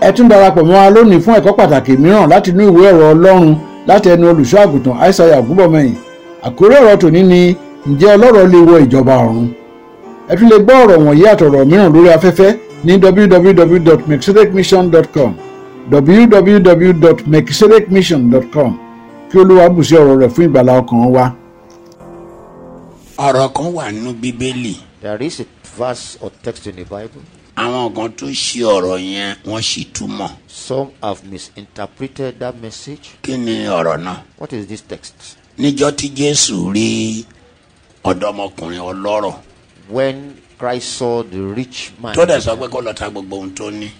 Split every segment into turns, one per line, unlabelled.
ẹ tún darapọ̀ mọ́ wa lónìí fún ẹ̀kọ́ pàtàkì mìíràn láti inú ìwé ọ̀rọ̀ ọlọ́run láti ẹnu olùṣọ́ àgùntàn aishaiya ògúnbọ̀mọyìn àkórí ọ̀rọ̀ tòní ni ǹjẹ́ ọlọ́rọ̀ lè wọ ìjọba ọ̀run ẹ tún lè gbọ́ ọ̀rọ̀ wọ̀nyí àtọ̀rọ̀ mìíràn lórí afẹ́fẹ́ ní www.mexirecmission.com www.mexirecmission.com kí olúwa bùsí ọ̀rọ̀ rẹ̀ fún ìgbàlá ọkàn wa.
ọ̀rọ̀ kan wà nínú bíbélì
There is a verse or text in the Bible.
àwọn kan tó ṣì ọ̀rọ̀ yẹn wọ́n sì túmọ̀
Some have misinterpreted that message.
kí ni ọ̀rọ̀ náà
What is this text?
níjọ́ tí jésù rí ọ̀dọ́mọkùnrin ọlọ́rọ̀
When Christ saw the rich man,
tó dẹ̀ sọ pé kó lọ ta gbogbo ohun tó ní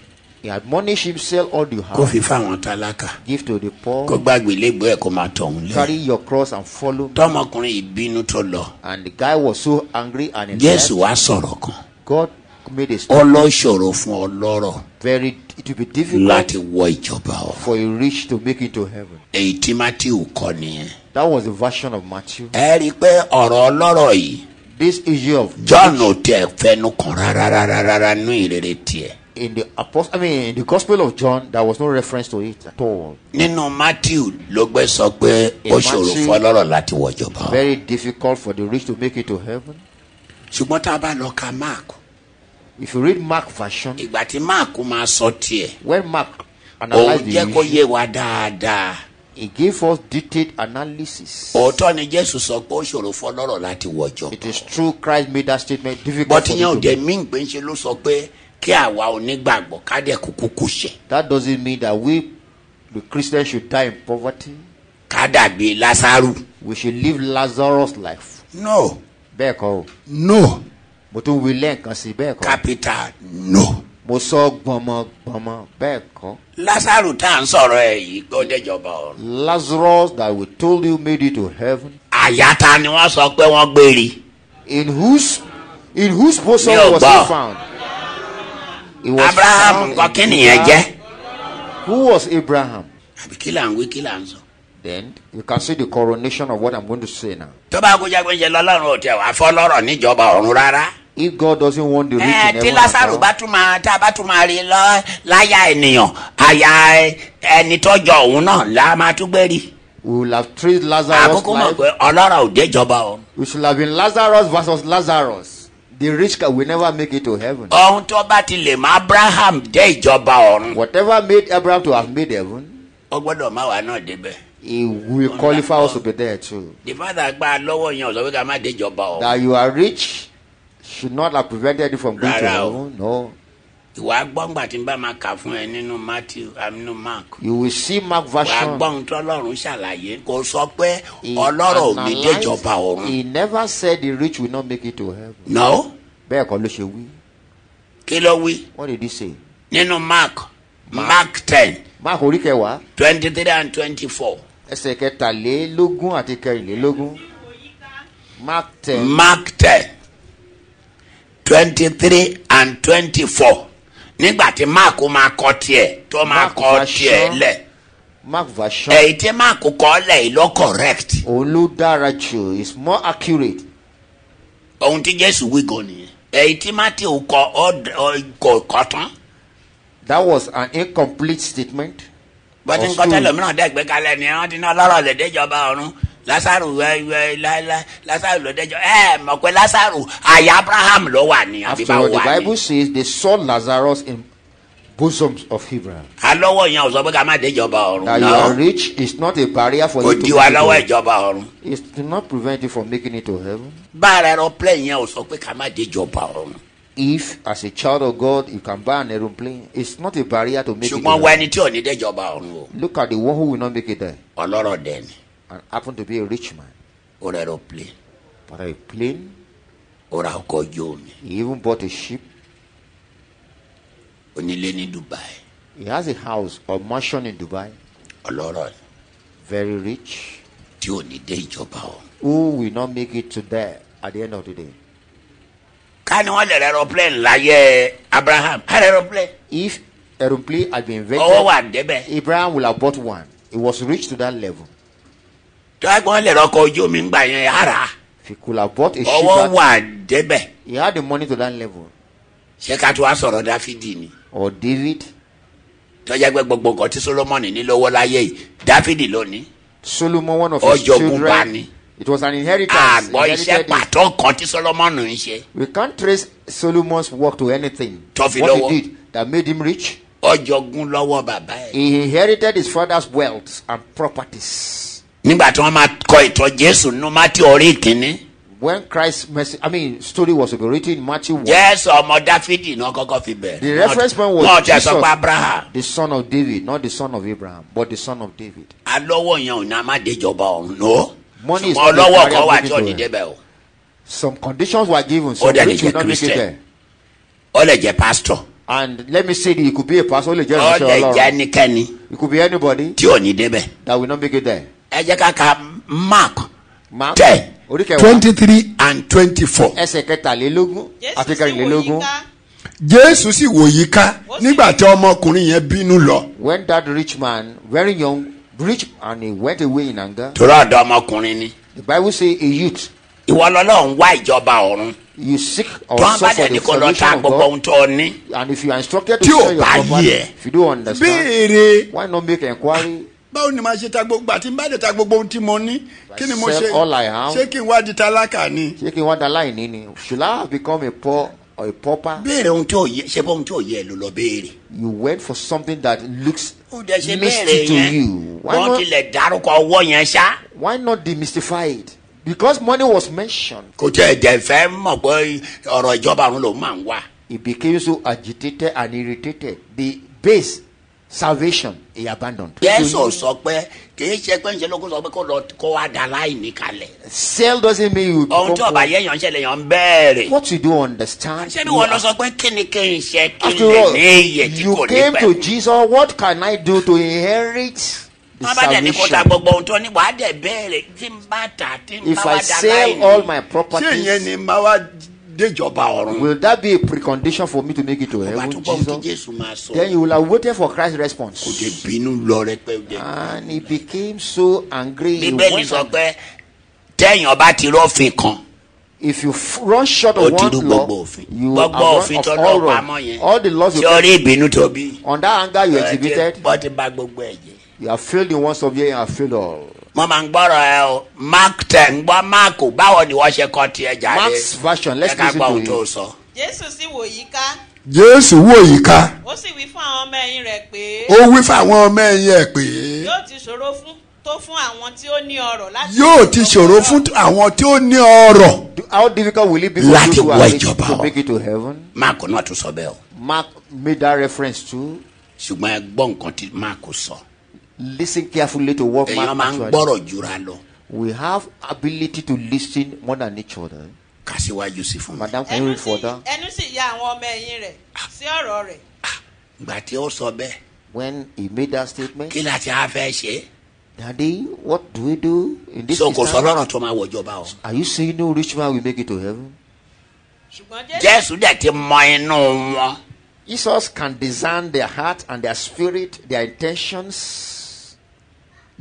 he admonished him, sell all you
kó
have,
fi fáwọn tálákà
give to the
kó
poor,
gbàgbé lẹ́gbẹ̀ẹ́ ẹ̀ kó máa tọ̀ òun
carry
lé
your cross and follow me.
tọmọkùnrin ìbínú tó lọ
And the guy was so angry and in
jésù
debt,
wá sọ̀rọ̀ kan
God made a
ó
stop
lọ ṣòro fún ọlọ́rọ̀
very it will be
láti
difficult
wọ ìjọba ọ
for a rich to make it to heaven.
èyí tí matthew kọ nìyẹn
That was the version of Matthew.
ẹ rí i pé ọ̀rọ̀ ọlọ́rọ̀ yìí
This issue of
john ò tiẹ̀ fẹnu kàn rárá rárá rárá nú ìrere tiẹ̀
in the apostle, I mean in the Gospel of John, there was no reference to it at all.
nínú matthew ló gbé sọ pé ó
In
ṣòro
Matthew-
fún ọlọ́rọ̀ láti wọ ìjọba ọ
Very difficult for the rich to make it to heaven.
ṣùgbọ́n tá a bá lọ ka mark
If you read Mark version,
ìgbà tí mark máa sọ tiẹ̀
when Mark
òun
analyzed the
jẹ́ kó
issue,
yé wa dáadáa
he gave us detailed analysis.
òótọ́ ni jésù sọ pé ó ṣòro fún ọlọ́rọ̀ láti wọ ìjọba
It is true Christ made that statement difficult.
bọ́tí
For
yẹn ò
you to
dẹ̀
make.
mí gbé ń ṣe ló sọ pé kí àwa onígbàgbọ́ ká dẹ̀ kúkú kú ṣẹ̀
That doesn't mean that we, the Christians, should die in poverty.
ká dàbí lásàrù.
We should live Lazarus life.
no
Bẹ́ẹ̀ kọ́ o.
no
Mo tún wí lẹ́ẹ̀kan sí i, bẹ́ẹ̀ kọ́.
capital no.
Mo sọ gbọmọ gbọmọ bẹ́ẹ̀ kọ́.
lásàrù tá à ń sọ̀rọ̀ ẹ̀ yìí gbọ́dẹ̀jọba ọ̀run.
Lazarus that we told you made it to heaven.
àyàtà ni wọ́n sọ pé wọ́n gbére.
In whose in whose bosom
Mi ò
was
gbọ́.
he found? He was
abraham eh,
found in
nǹkan kí nìyẹn jẹ́.
Abraham. Who was Abraham?
àbí kí là ń wí kí là ń sọ.
Then you can see the coronation of what I'm going to say now.
tó bá kó jágbe jẹ lọ́lọ́run ò tẹ̀ wá fọ́lọ́rọ̀ níjọba ọ̀run rárá.
If God doesn't want the rich
ẹ
in
tí
heaven,
lásàrù
at
bá
all,
tún máa tá a bá tún máa rí i lọ láyà ènìyàn àyà ẹ- ẹni tọ́jọ òun náà la máa tún gbé rí.
we will have treated Lazarus.
àkókò mọ̀
Life.
pé ọlọ́rọ̀ ò déjọba ọ̀run.
We should have been Lazarus versus Lazarus. The rich guy will never make it to heaven.
ohun tó bá ti lè mọ abraham dé ìjọba ọ̀run.
Whatever made Abraham to have made heaven,
ó gbọ́dọ̀ má wàá náà débẹ̀.
he will qualify us to be there too.
the father gba lọ́wọ́ yẹn ọ̀sọ́ pé ká má dé ìjọba ọ̀run.
That you are rich should not have prevented you from going to
Rárá o.
heaven. No.
ìwà gbọ́ngbà tí n bá máa kà fún ẹ nínú matthew aminu mark
You will see Mark
wà á
version.
gbọ́ ohun tọ́lọ́run ṣàlàyé kò sọ pé
He
ọlọ́rọ̀ ò ní
analyzed-
déjọba ọ̀run.
He never said the rich will not make it to heaven.
no
Bẹ́ẹ̀ kọ́ ló ṣe wí.
kí ló wí
What did he say?
nínú mark mark ten
Mark orí kẹwàá
twenty three and twenty four
ẹsẹ̀ kẹtàlélógún àti kẹrìnlélógún. Mark ten
mark ten twenty three and twenty four nígbà tí mark máa kọ tiẹ̀ tó máa
Mark
kọ
máa
tiẹ̀
sọ.
lẹ̀
Mark version.
èyí tí mark kọ́ lẹ̀ yìí ló correct
òun ló dára jù is more accurate.
ohun tí jésù wí gan nìyẹn èyí tí matthew kọ ọ kò kọ tán.
that was an incomplete statement.
bọ́tí
Or
nǹkan
stool.
tẹ́lẹ̀ mìíràn dẹ́ gbé kalẹ̀ ni wọ́n ti ná lọ́rọ̀ lè déjọba ọ̀run lásàrù wẹ́wẹ́ lásàrù ló déjọ ẹ mọ̀ pé lásàrù àyà abraham ló wà ní àbí
after
báwo
all the
wà
bible
ní.
says they saw lazarus in bosoms of abraham.
alọ́wọ́ yẹn ò sọ pé ká má déjọba ọ̀run
that you are
náà
rich is not a barrier for
kò
you to
di wa
make it
lọ́wọ́
to-
ìjọba ọ̀run.
it do not prevent you from making it to heaven.
báàrà aeroplane yẹn ò sọ pé ká má déjọba ọ̀run.
if as a child of god you can buy an aeroplane it's not a barrier to make it to
ṣùgbọ́n
heaven.
wọ ẹni tí ò ní déjọba ọ̀run o
look at the one who will not make it there
ọlọ́rọ̀ dẹ̀ ni
and happen to be a rich man
ó ra aeroplane
but a plane
ó ra ọkọ̀ ojú omi
he even bought a ship
onílé ní dubai
he has a house or mansion in dubai
ọlọ́rọ̀ ni
very rich
tí ò ní déjọba ọ̀run.
who will not make it to there at the end of the day.
ká ní wọ́n lè rẹ aeroplane láyé abraham á rẹ aeroplane
If aeroplane had been
ọwọ́
invented,
wà débẹ̀
Abraham would have bought one. It was rich to that level.
tó wá pé wọ́n lè rẹ ọkọ̀ ojú omi ńgbà yẹn ara
If he could have bought a ship,
ọwọ́
that,
wà débẹ̀
he had the money to that level.
ṣé ká tó wá sọ̀rọ̀ dáfídì ni
Or David,
tó jẹ́ pé gbogbo nǹkan tí solomoni ní lọ́wọ́ láyé yìí dáfídì ló ní
Solomon, one of his
Ọjọ́ Buba
children,
ni.
it was an inheritance.
àgbọ̀ iṣẹ́
inherited it.
pàtó kan tí solomoni ń ṣe
We can't trace Solomon's work to anything.
Tough
what
lower.
he did that made him rich,
ọjọ́gún lọ́wọ́ bàbá ẹ̀.
he inherited his father's wealth and properties.
nígbà tí wọ́n máa kọ ìtọ́ jésù nínú mátí orí ìkíní
When Christ's message, I mean, story was to be written in Matthew 1,
jésù ọmọ dáfídì náà kọ́kọ́ fi bẹ̀rẹ̀.
The reference point was
wọ́n ti sọ
Jesus.
pé abraham
the son of David, not the son of Abraham, but the son of David.
alọ́wọ́ yẹn ò ní a má déjọba ọ̀run nù.
Money is
ṣùgbọ́n
not the
ọlọ́wọ́
carrier
kan wà
of
tí ò ní
Israel.
débẹ̀ o.
Some conditions were given, so
then
which
he's Oh, a
will not make it
Christian.
there.
ó lè jẹ́ pásítọ̀
And let me say, that it could be a pastor, only just
ó
Michelle
lè
Lawrence.
jẹ́ ẹnikẹ́ni
it could be anybody
tí ò ní débẹ̀.
that will not make it there.
ẹ jẹ́ ká ka mark
Mark,
Ten.
oríkẹwàá,
twenty three
and twenty four.
ẹsẹ̀ kẹtàlélógún àti kẹrìnlélógún.
jésù sì wò yíká nígbà tí ọmọkùnrin yẹn bínú lọ
When that rich man, very young, rich, and he went away in anger,
torí ọ̀dọ́ ọmọkùnrin ni
the Bible says a youth,
ìwọ lọ́lọ́run wá ìjọba ọ̀run
you seek
Oh,
or
tó ń bá
search for
dẹ̀ ní
the
kó lọ ta
salvation of
gbogbo ohun
God,
tó ní.
and if you are instructed to
Tí ò
sell your
bá
property,
yẹ.
if you don't understand,
béèrè
why not make inquiry?
báwo ni màá ṣe ta gbogbo àti bá lè ta gbogbo ohun tí mo ní kí ni mo
Sell
ṣe
all I have.
ṣé kí n wá di tálákà ni.
Taking one that line in, should I have become a poor or a pauper?
béèrè ohun tí ò yẹ ṣe bó ohun tí ò yẹ ló lọ béèrè.
You went for something that looks
ó dẹ̀ ṣe
misty
béèrè
to
yẹn
you. Why
wọ́n
not,
tilẹ̀ dárúkọ ọwọ́ yẹn ṣá.
why not demystify it? Because money was mentioned.
kò tẹ́ ẹ̀ dẹ̀ fẹ́ mọ̀ pé ọ̀rọ̀ ìjọba ọ̀run lòún máa ń wà.
he became so agitated and irritated. The base salvation he abandoned.
jésù sọ pé kì í ṣe pé ń ṣe ló kó sọ pé kó lọ kó wá da láìní kalẹ̀.
Sell doesn't mean you
ohun
become
tí ọba
poor.
yẹn yàn ṣẹlẹ̀ yàn bẹ́ẹ̀rẹ̀.
What you don't understand.
ṣé ni
you
wọn lọ
are-
sọ pé kí ni kí n ṣe kí n
after
lè
all,
ní iye tí kò
you
ní
came
pẹ́.
to Jesus. What can I do to inherit the
wọ́n bá dẹ̀ ní kó ta
salvation?
gbogbo ohun tó ní wàá dẹ̀ bẹ́ẹ̀rẹ̀ tí ń bá tà tí ń bá
If
wá
I
da
sell all
láìní.
my
ṣé ìyẹn
properties,
ni màá wá déjọba ọ̀run.
will that be a precondition for me to make it to
wàá
heaven,
tún bọ́ ohun tí
Jesus?
jésù máa sọ.
Then you will have waited for Christ's
kò dé
response.
bínú lọ rẹpẹ́ dé.
And he became so angry. He
bíbélì
went
sọ
and-
pé tẹ́yìn ọba ti rọ́ọ̀fin kan
if you f- run short
ó
of
ti
one
rú
law
gbogbo òfin
you are
gbogbo òfin
run of
tó
all
lọ́ọ́ pamọ́
wrong
yẹn
all the laws you
tí ó rí ìbínú tóbi.
on that anger you exhibited
wọ́n ti ba gbogbo ẹ̀ jẹ́.
you have failed in one subject and have failed all
wọ́n máa ń gbọ́rọ̀ ẹ o mark tẹ̀ ń gbọ́ mark o, báwo ni wọ́n ṣe kọ́ tiẹ̀ jáde.
Mark's version, let's
Ẹ ká
listen
gbọ́
to
ohun
it.
tó sọ.
jésù sì wò yíká
jésù wò yíká
ó sì wí fún àwọn ọmọ ẹ̀yìn rẹ̀ pé
ó wí fáwọn ọmọ ẹ̀yìn ẹ̀ pé
yóò ti ṣòro fún tó fún àwọn tí ó ní ọrọ̀ láti
yóò ti ṣòro fún àwọn tí ó ní ọrọ̀
Do- how difficult will it be for
Láti
you to,
wọ
have it-
ìjọba
to
o.
make it to heaven
mark náà tún sọ bẹ́ẹ̀ o
mark made that reference to
ṣùgbọ́n ẹ gbọ́ nǹkan tí mark sọ.
listen carefully to what
èèyàn
mark
máa ń
actually-
gbọ́rọ̀ jura lọ
we have ability to listen more than each other
kà síwájú sí fún mi.
madam can you
ẹnu
read
sì
further
ẹnu sì ya àwọn ọmọ ẹ̀yìn rẹ̀ sí ọ̀rọ̀ rẹ̀
gbà tí ó sọ bẹ́ẹ̀
when he made that statement
kí la ti á fẹ́ ṣe.
daddy what do we do in this
so kò sọ
instance?
lọ́rọ̀ tó máa wọ̀jọba o.
are you saying no rich man will make it to heaven
ṣùgbọ́n jésù
jésù dẹ̀ ti mọ inú wọn.
Jesus can discern their heart and their spirit, their intentions.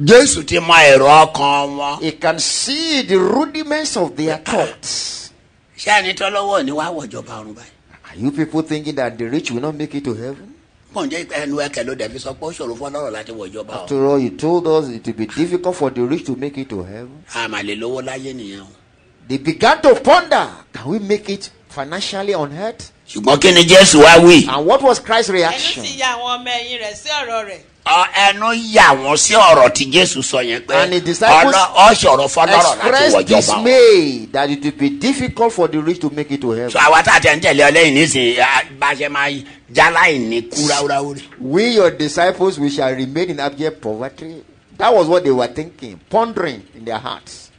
jésù ti mọ èrò ọkàn wọn.
He can see the rudiments of their thoughts.
ṣé ẹni tó lọ́wọ́ ni wàá wọ̀jọba ọ̀run báyìí.
Are you people thinking that the rich will not make it to heaven?
mọ̀ njẹ́ ẹnu ẹ̀kẹ́ ló dẹ̀ fi sọ pé ó ṣòro fún ọlọ́rọ̀ láti wọ̀jọba ọ̀run.
After all, you told us it will be difficult for the rich to make it to heaven.
àmàlè lówó láyé nìyẹn o.
They began to ponder can we make it financially on earth?
ṣùgbọ́n kí ni jésù wá wí.
And what was Christ's
ẹnu
reaction?
sì ya àwọn ọmọ ẹ̀yìn rẹ̀ sí ọ̀rọ̀ rẹ̀
Ọ- ẹnu yà wọ́n sí ọ̀rọ̀ tí jésù sọ yẹn pé
And the disciples
ọlọ- ọ ṣòro fọlọ́rọ̀ láti
Expressed
wọ̀jọba ọ̀run.
dismay that it will be difficult for the rich to make it to
so
heaven.
àwa tá a tẹ̀ ń tẹ̀lé ọlẹ́yìn nísìnyí a- bá a ṣe máa jáláì ní kú ráúráú rẹ̀.
We, your disciples, we shall remain in abject poverty. That was what they were thinking, pondering in their hearts.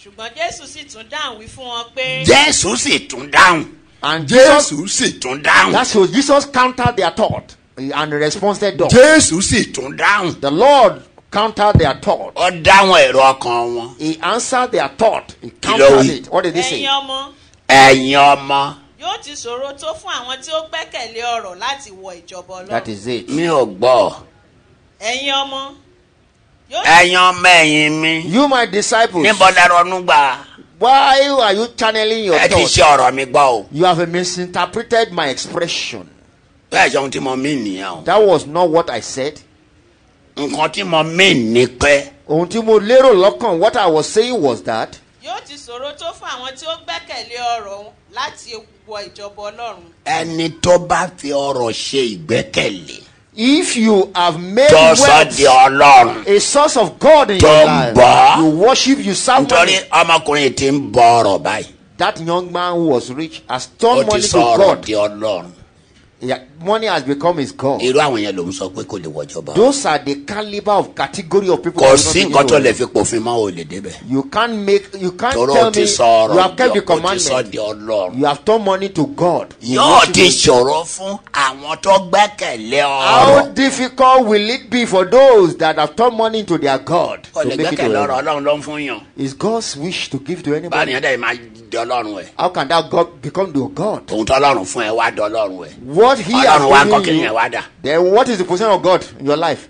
ṣùgbọ́n jésù sì tún dáhùn wí fún wọn pé
jésù sì tún dáhùn
And Jesus,
jésù sì tún
tún dáhùn
that's so Jesus countered their thought and responded up.
jésù sì tún
tún dáhùn.
The Lord countered their thought.
ó dáhùn èrò ọkàn wọn.
He answered their thought. He
Glory.
countered it. What did he say?
ẹ̀yin ọmọ
ẹ̀yin ọmọ
yóò ti ṣòro tó fún àwọn tí ó gbẹ́kẹ̀lé ọrọ̀ láti wọ ìjọba
That
ọlọ́run
is it.
mi ò gbọ́
ẹ̀yin ọmọ yóò
ẹ̀yin ọmọ ẹ̀yìn mi
You, my disciples,
níbo lẹ́rọ ọdún gbà
why are you channeling your
ẹ ti
thoughts?
ṣe ọ̀rọ̀ mi gbọ́ o.
You have misinterpreted my expression.
bẹ́ẹ̀ sọ ohun tí mo mí nìyẹn o
That was not what I said.
nǹkan tí mo mí ní pẹ́
Ohun tí mo lérò lọ́kàn, what I was saying was that
yóò ti ṣòro tó fún àwọn tí ó gbẹ́kẹ̀lé ọ̀rọ̀ òun láti wọ ìjọba ọlọ́run
ẹni tó bá fi ọrọ̀ ṣe ìgbẹ́kẹ̀lé
if you have made
tó sọ
wealth
di ọlọ́run
a source of God in your
Don't
life,
bar.
you worship, you serve
nítorí
money.
ọmọkùnrin ti ń bọ ọrọ̀ báyìí
That young man who was rich has
ó
turned
ti
money to
sọ ọrọ̀
God.
di ọlọ́run
Yeah, money has become his God.
irú àwọn yẹn ló ń sọ pé kò lè wọjọba
Those are the caliber of category of people.
kò
that
sí
do not
nǹkan tó
know.
lè fi pòfin mọ́ ò lè débẹ̀
You can't make. You can't
tọrọ
tell
ti
me.
sọ ọrọ̀
You have kept
di-
the
ó ti sọ
commandment.
di ọlọ́run
You have turned money to God. You
yóò
worship
ti
Him.
ṣòro fún àwọn tó gbẹ́kẹ̀lé
How
ọrọ̀
difficult will it be for those that have turned money to their God
kò lè
to make it to
gbẹ́kẹ̀lé ọrọ̀
heaven?
ọlọ́run ló ń fún yàn
Is God's wish to give to
báyìí
anybody?
yẹn dẹ̀ máa di ọlọ́run ẹ̀
How can that God become your God?
tòun tó ọlọ́run fún ẹ wá di ọlọ́run ẹ̀
What He
ọlọ́run wá
has
nǹkan
given
kìíní ẹ̀
you.
wá dà
Then what is the position of God in your life?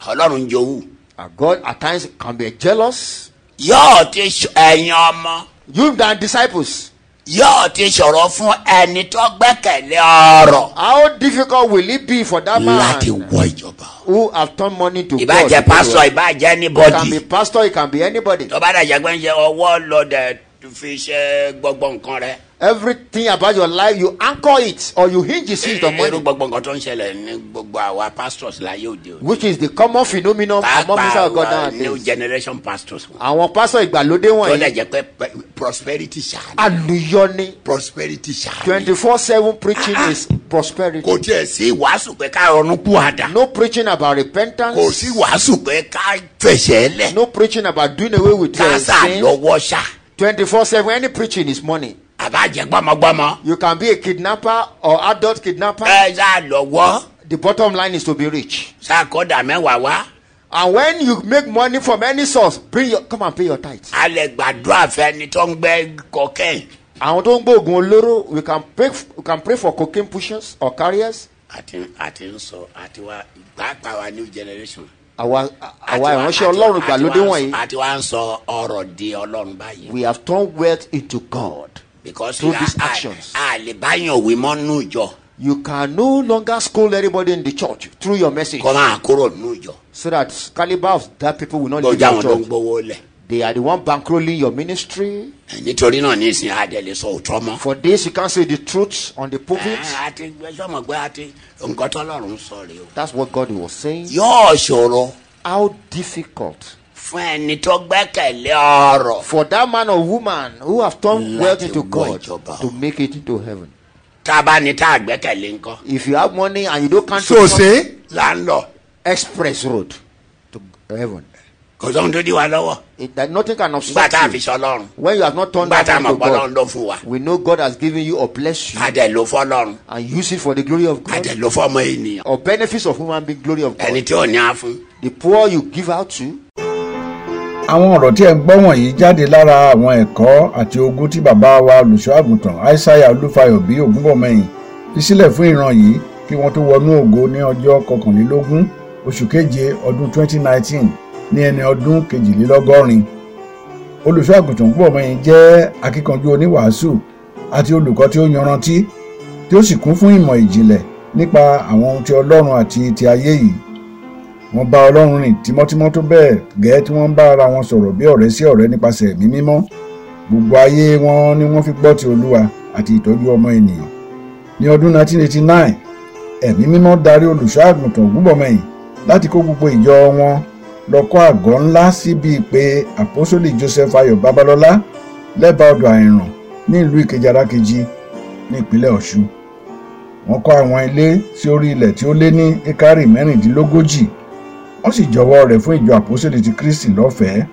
ọlọ́run jowú
Uh, God at times can be jealous.
yóò ti ṣ- ẹ̀yin ọmọ
You than disciples.
yóò ti ṣòro fún ẹni tó gbẹ́kẹ̀lé ọrọ̀
How difficult will it be for that
láti
man
wọ ìjọba
who have turned money to God?
ìbàjẹ́
to do
pásọ ìbàjẹ́
well? It can be
anybody
pastor, it can be anybody.
tó bá dàjẹ́ pé ń ṣe ọwọ́ lọ́dẹ̀ fi ṣe gbogbo nǹkan rẹ̀
Everything about your life, you anchor it or you hinge it on
irú
money,
gbogbo nǹkan tó ń ṣẹlẹ̀ ní gbogbo àwa pastors láyé òde òní
which is the common phenomenon among ministers
pàápàá
of God
àwa new
nowadays.
generation pastors wọn.
Àwọn pastor ìgbàlódé
tó
wọ̀nyí
dàjẹ́ pé pe- prosperity ṣáà
àlùyọ ni
prosperity ṣáà
twenty four seven preaching is prosperity.
Ah, kò tiẹ̀ sí ìwàásù pé ká ronú kú àdá
No preaching
kò
about repentance,
sí ìwàásù pé ká fẹsẹ̀ lẹ̀
no preaching about doing away with
ká
your sin.
sàlọ́wọ́ ṣá
twenty four seven any preaching is money.
àbájẹ́ gbọ́mọgbọ́mọ
You can be a kidnapper or adult kidnapper.
ẹ sàlọ́wọ́
the bottom line is to be rich.
sàkọ́dà mẹ́wàá wá
And when you make money from any source, bring your come and pay your tithe.
a lè gbàdúrà fẹ́ni tó ń gbẹ́ kọ́kẹ́
Àwọn tó ń gbóògùn olóró, we can pray we can pray for cocaine pushers or carriers.
àti àti ń sọ àti wa pàápàá wa new generation.
Àwa
àti
àwa
wá-
ìránṣẹ́
àti wá-
Ọlọ́run
àti wá ń
ìgbàlódé
sọ-
wọ̀nyí.
àti wá ń sọ ọ̀rọ̀ di Ọlọ́run báyìí.
We have turned wealth into God.
because
through
a-
these
a-
actions.
a lè báyàn wí mọ́ nù jọ
You can no longer scold everybody in the church through your message.
kọ́ máa kúrò nù jọ
So that caliber of that people will not leave
gbọ́dọ̀
your
àwọn tó ń
church.
gbowó lẹ̀.
They are the one bankrolling your ministry.
nítorí náà nísìnyí adẹ̀lẹ̀ sọ òótọ́ mọ́.
For this, you can't say the truth on the pulpit.
Ẹ̀, àti gbẹ́sọ̀mọ̀ pé àti nǹkan tọ́lọ́run sọ rèé o.
That's what God was saying.
yóò ṣòro
How difficult
fún ẹni tó gbẹ́kẹ̀lé ọ̀rọ̀
for that man or woman who have turned
Láti
wealth into
wọ
God
ìjọba.
to make it into heaven.
tá a bá ní tá a gbẹ́kẹ̀lé ńkọ́.
If you have money and you don't count
so ṣe
là ń lọ
express road to heaven,
kò sóhun tó dí wa lọ́wọ́
it, that nothing can
nígbà tá a
obstruct
fi
you.
sọ ọlọ́run
When you have not turned
nígbà
that
tá a
man
mọ̀
to
pé ọlọ́run ló
God,
fún wa
we know God has given you or blessed you
adẹ̀ló fọlọ́run
and use it for the glory of God
adẹ̀ló fọmọ ènìyàn
or benefits of human being, glory of
ẹni
God.
tí ò ní á fún.
The poor you give out to.
àwọn ọ̀rọ̀ tí ẹ̀ ń gbọ́ wọ̀nyí jáde lára àwọn ẹ̀kọ́ àti ogún tí bàbá wa olùṣọ́àgùntàn aishaiya olúfayọ bí ògúnbọ̀mọyìn fi sílẹ̀ fún ìran yìí kí wọ́n tó wọnú ògo ní ọjọ́ kọkànlélógún oṣù keje ọdún 2019 ní ẹni ọdún kejìlélọ́gọ́rin olùṣọ́àgùntàn ògúnbọ̀mọyìn jẹ́ akíkanjú oníwàásù àti olùkọ́ tí ó yanrantí tí ó sì kún fún ìmọ̀ ìjìnlẹ̀ nípa àwọn ohun ti ọlọ́run àti ti ayé yìí wọ́n bá ọlọ́run rìn tímọ́tímọ́ tó bẹ́ẹ̀ gẹ́ẹ́ tí wọ́n ń bá ara wọn sọ̀rọ̀ bí ọ̀rẹ́ sí ọ̀rẹ́ nípasẹ̀ ẹ̀mí mímọ́ gbogbo ayé wọn ni wọ́n fi gbọ́ ti olúwa àti ìtọ́jú ọmọ ènìyàn ní ọdún 1989 ẹ̀mí mímọ́ darí olùṣọ́ àgùntàn ògúnbọ̀mọyìn láti kó gbogbo ìjọ wọn lọ kọ́ àgọ́ ńlá síbi pé àpọ́sólì joseph ayọ̀ babalọ́lá lẹ́bàá ọdọ̀ àìràn ní ìlú ìkejì arákejì ní ìpínlẹ̀ ọ̀ṣun wọ́n kọ́ àwọn ilé sí orí ilẹ̀ tí ó lé ní ekari mẹ́rìndínlógójì wọ́n sì jọ̀wọ́ rẹ̀ fún ìjọ àpòsílẹ̀ ti kristi lọ́fẹ̀ẹ́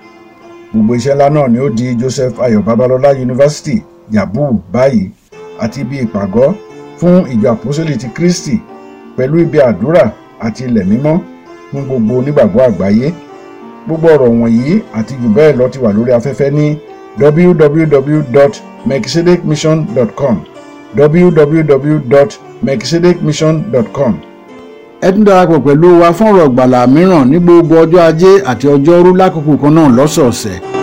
gbogbo iṣẹ́ ńlá náà ni ó di joseph ayọ̀ babalọ́lá yunifásitì yabu báyìí àti ibi ìpàgọ́ fún ìjọ àpòsílẹ̀ ti kristi pẹ̀lú ibi àdúrà àti ilẹ̀ mímọ́ fún gbogbo onígbàgbọ́ àgbáyé gbogbo ọ̀rọ̀ wọ̀nyí àti jù bẹ́ẹ̀ lọ ti wà lórí afẹ́fẹ́ ní www.mekisedekmission.com www.mekisedekmission.com ẹ tún darapọ̀ pẹ̀lú wa fún ọ̀rọ̀ ìgbàlà mìíràn ní gbogbo ọjọ́ ajé àti ọjọ́rú lákòókò kan náà lọ́sọ̀ọ̀sẹ̀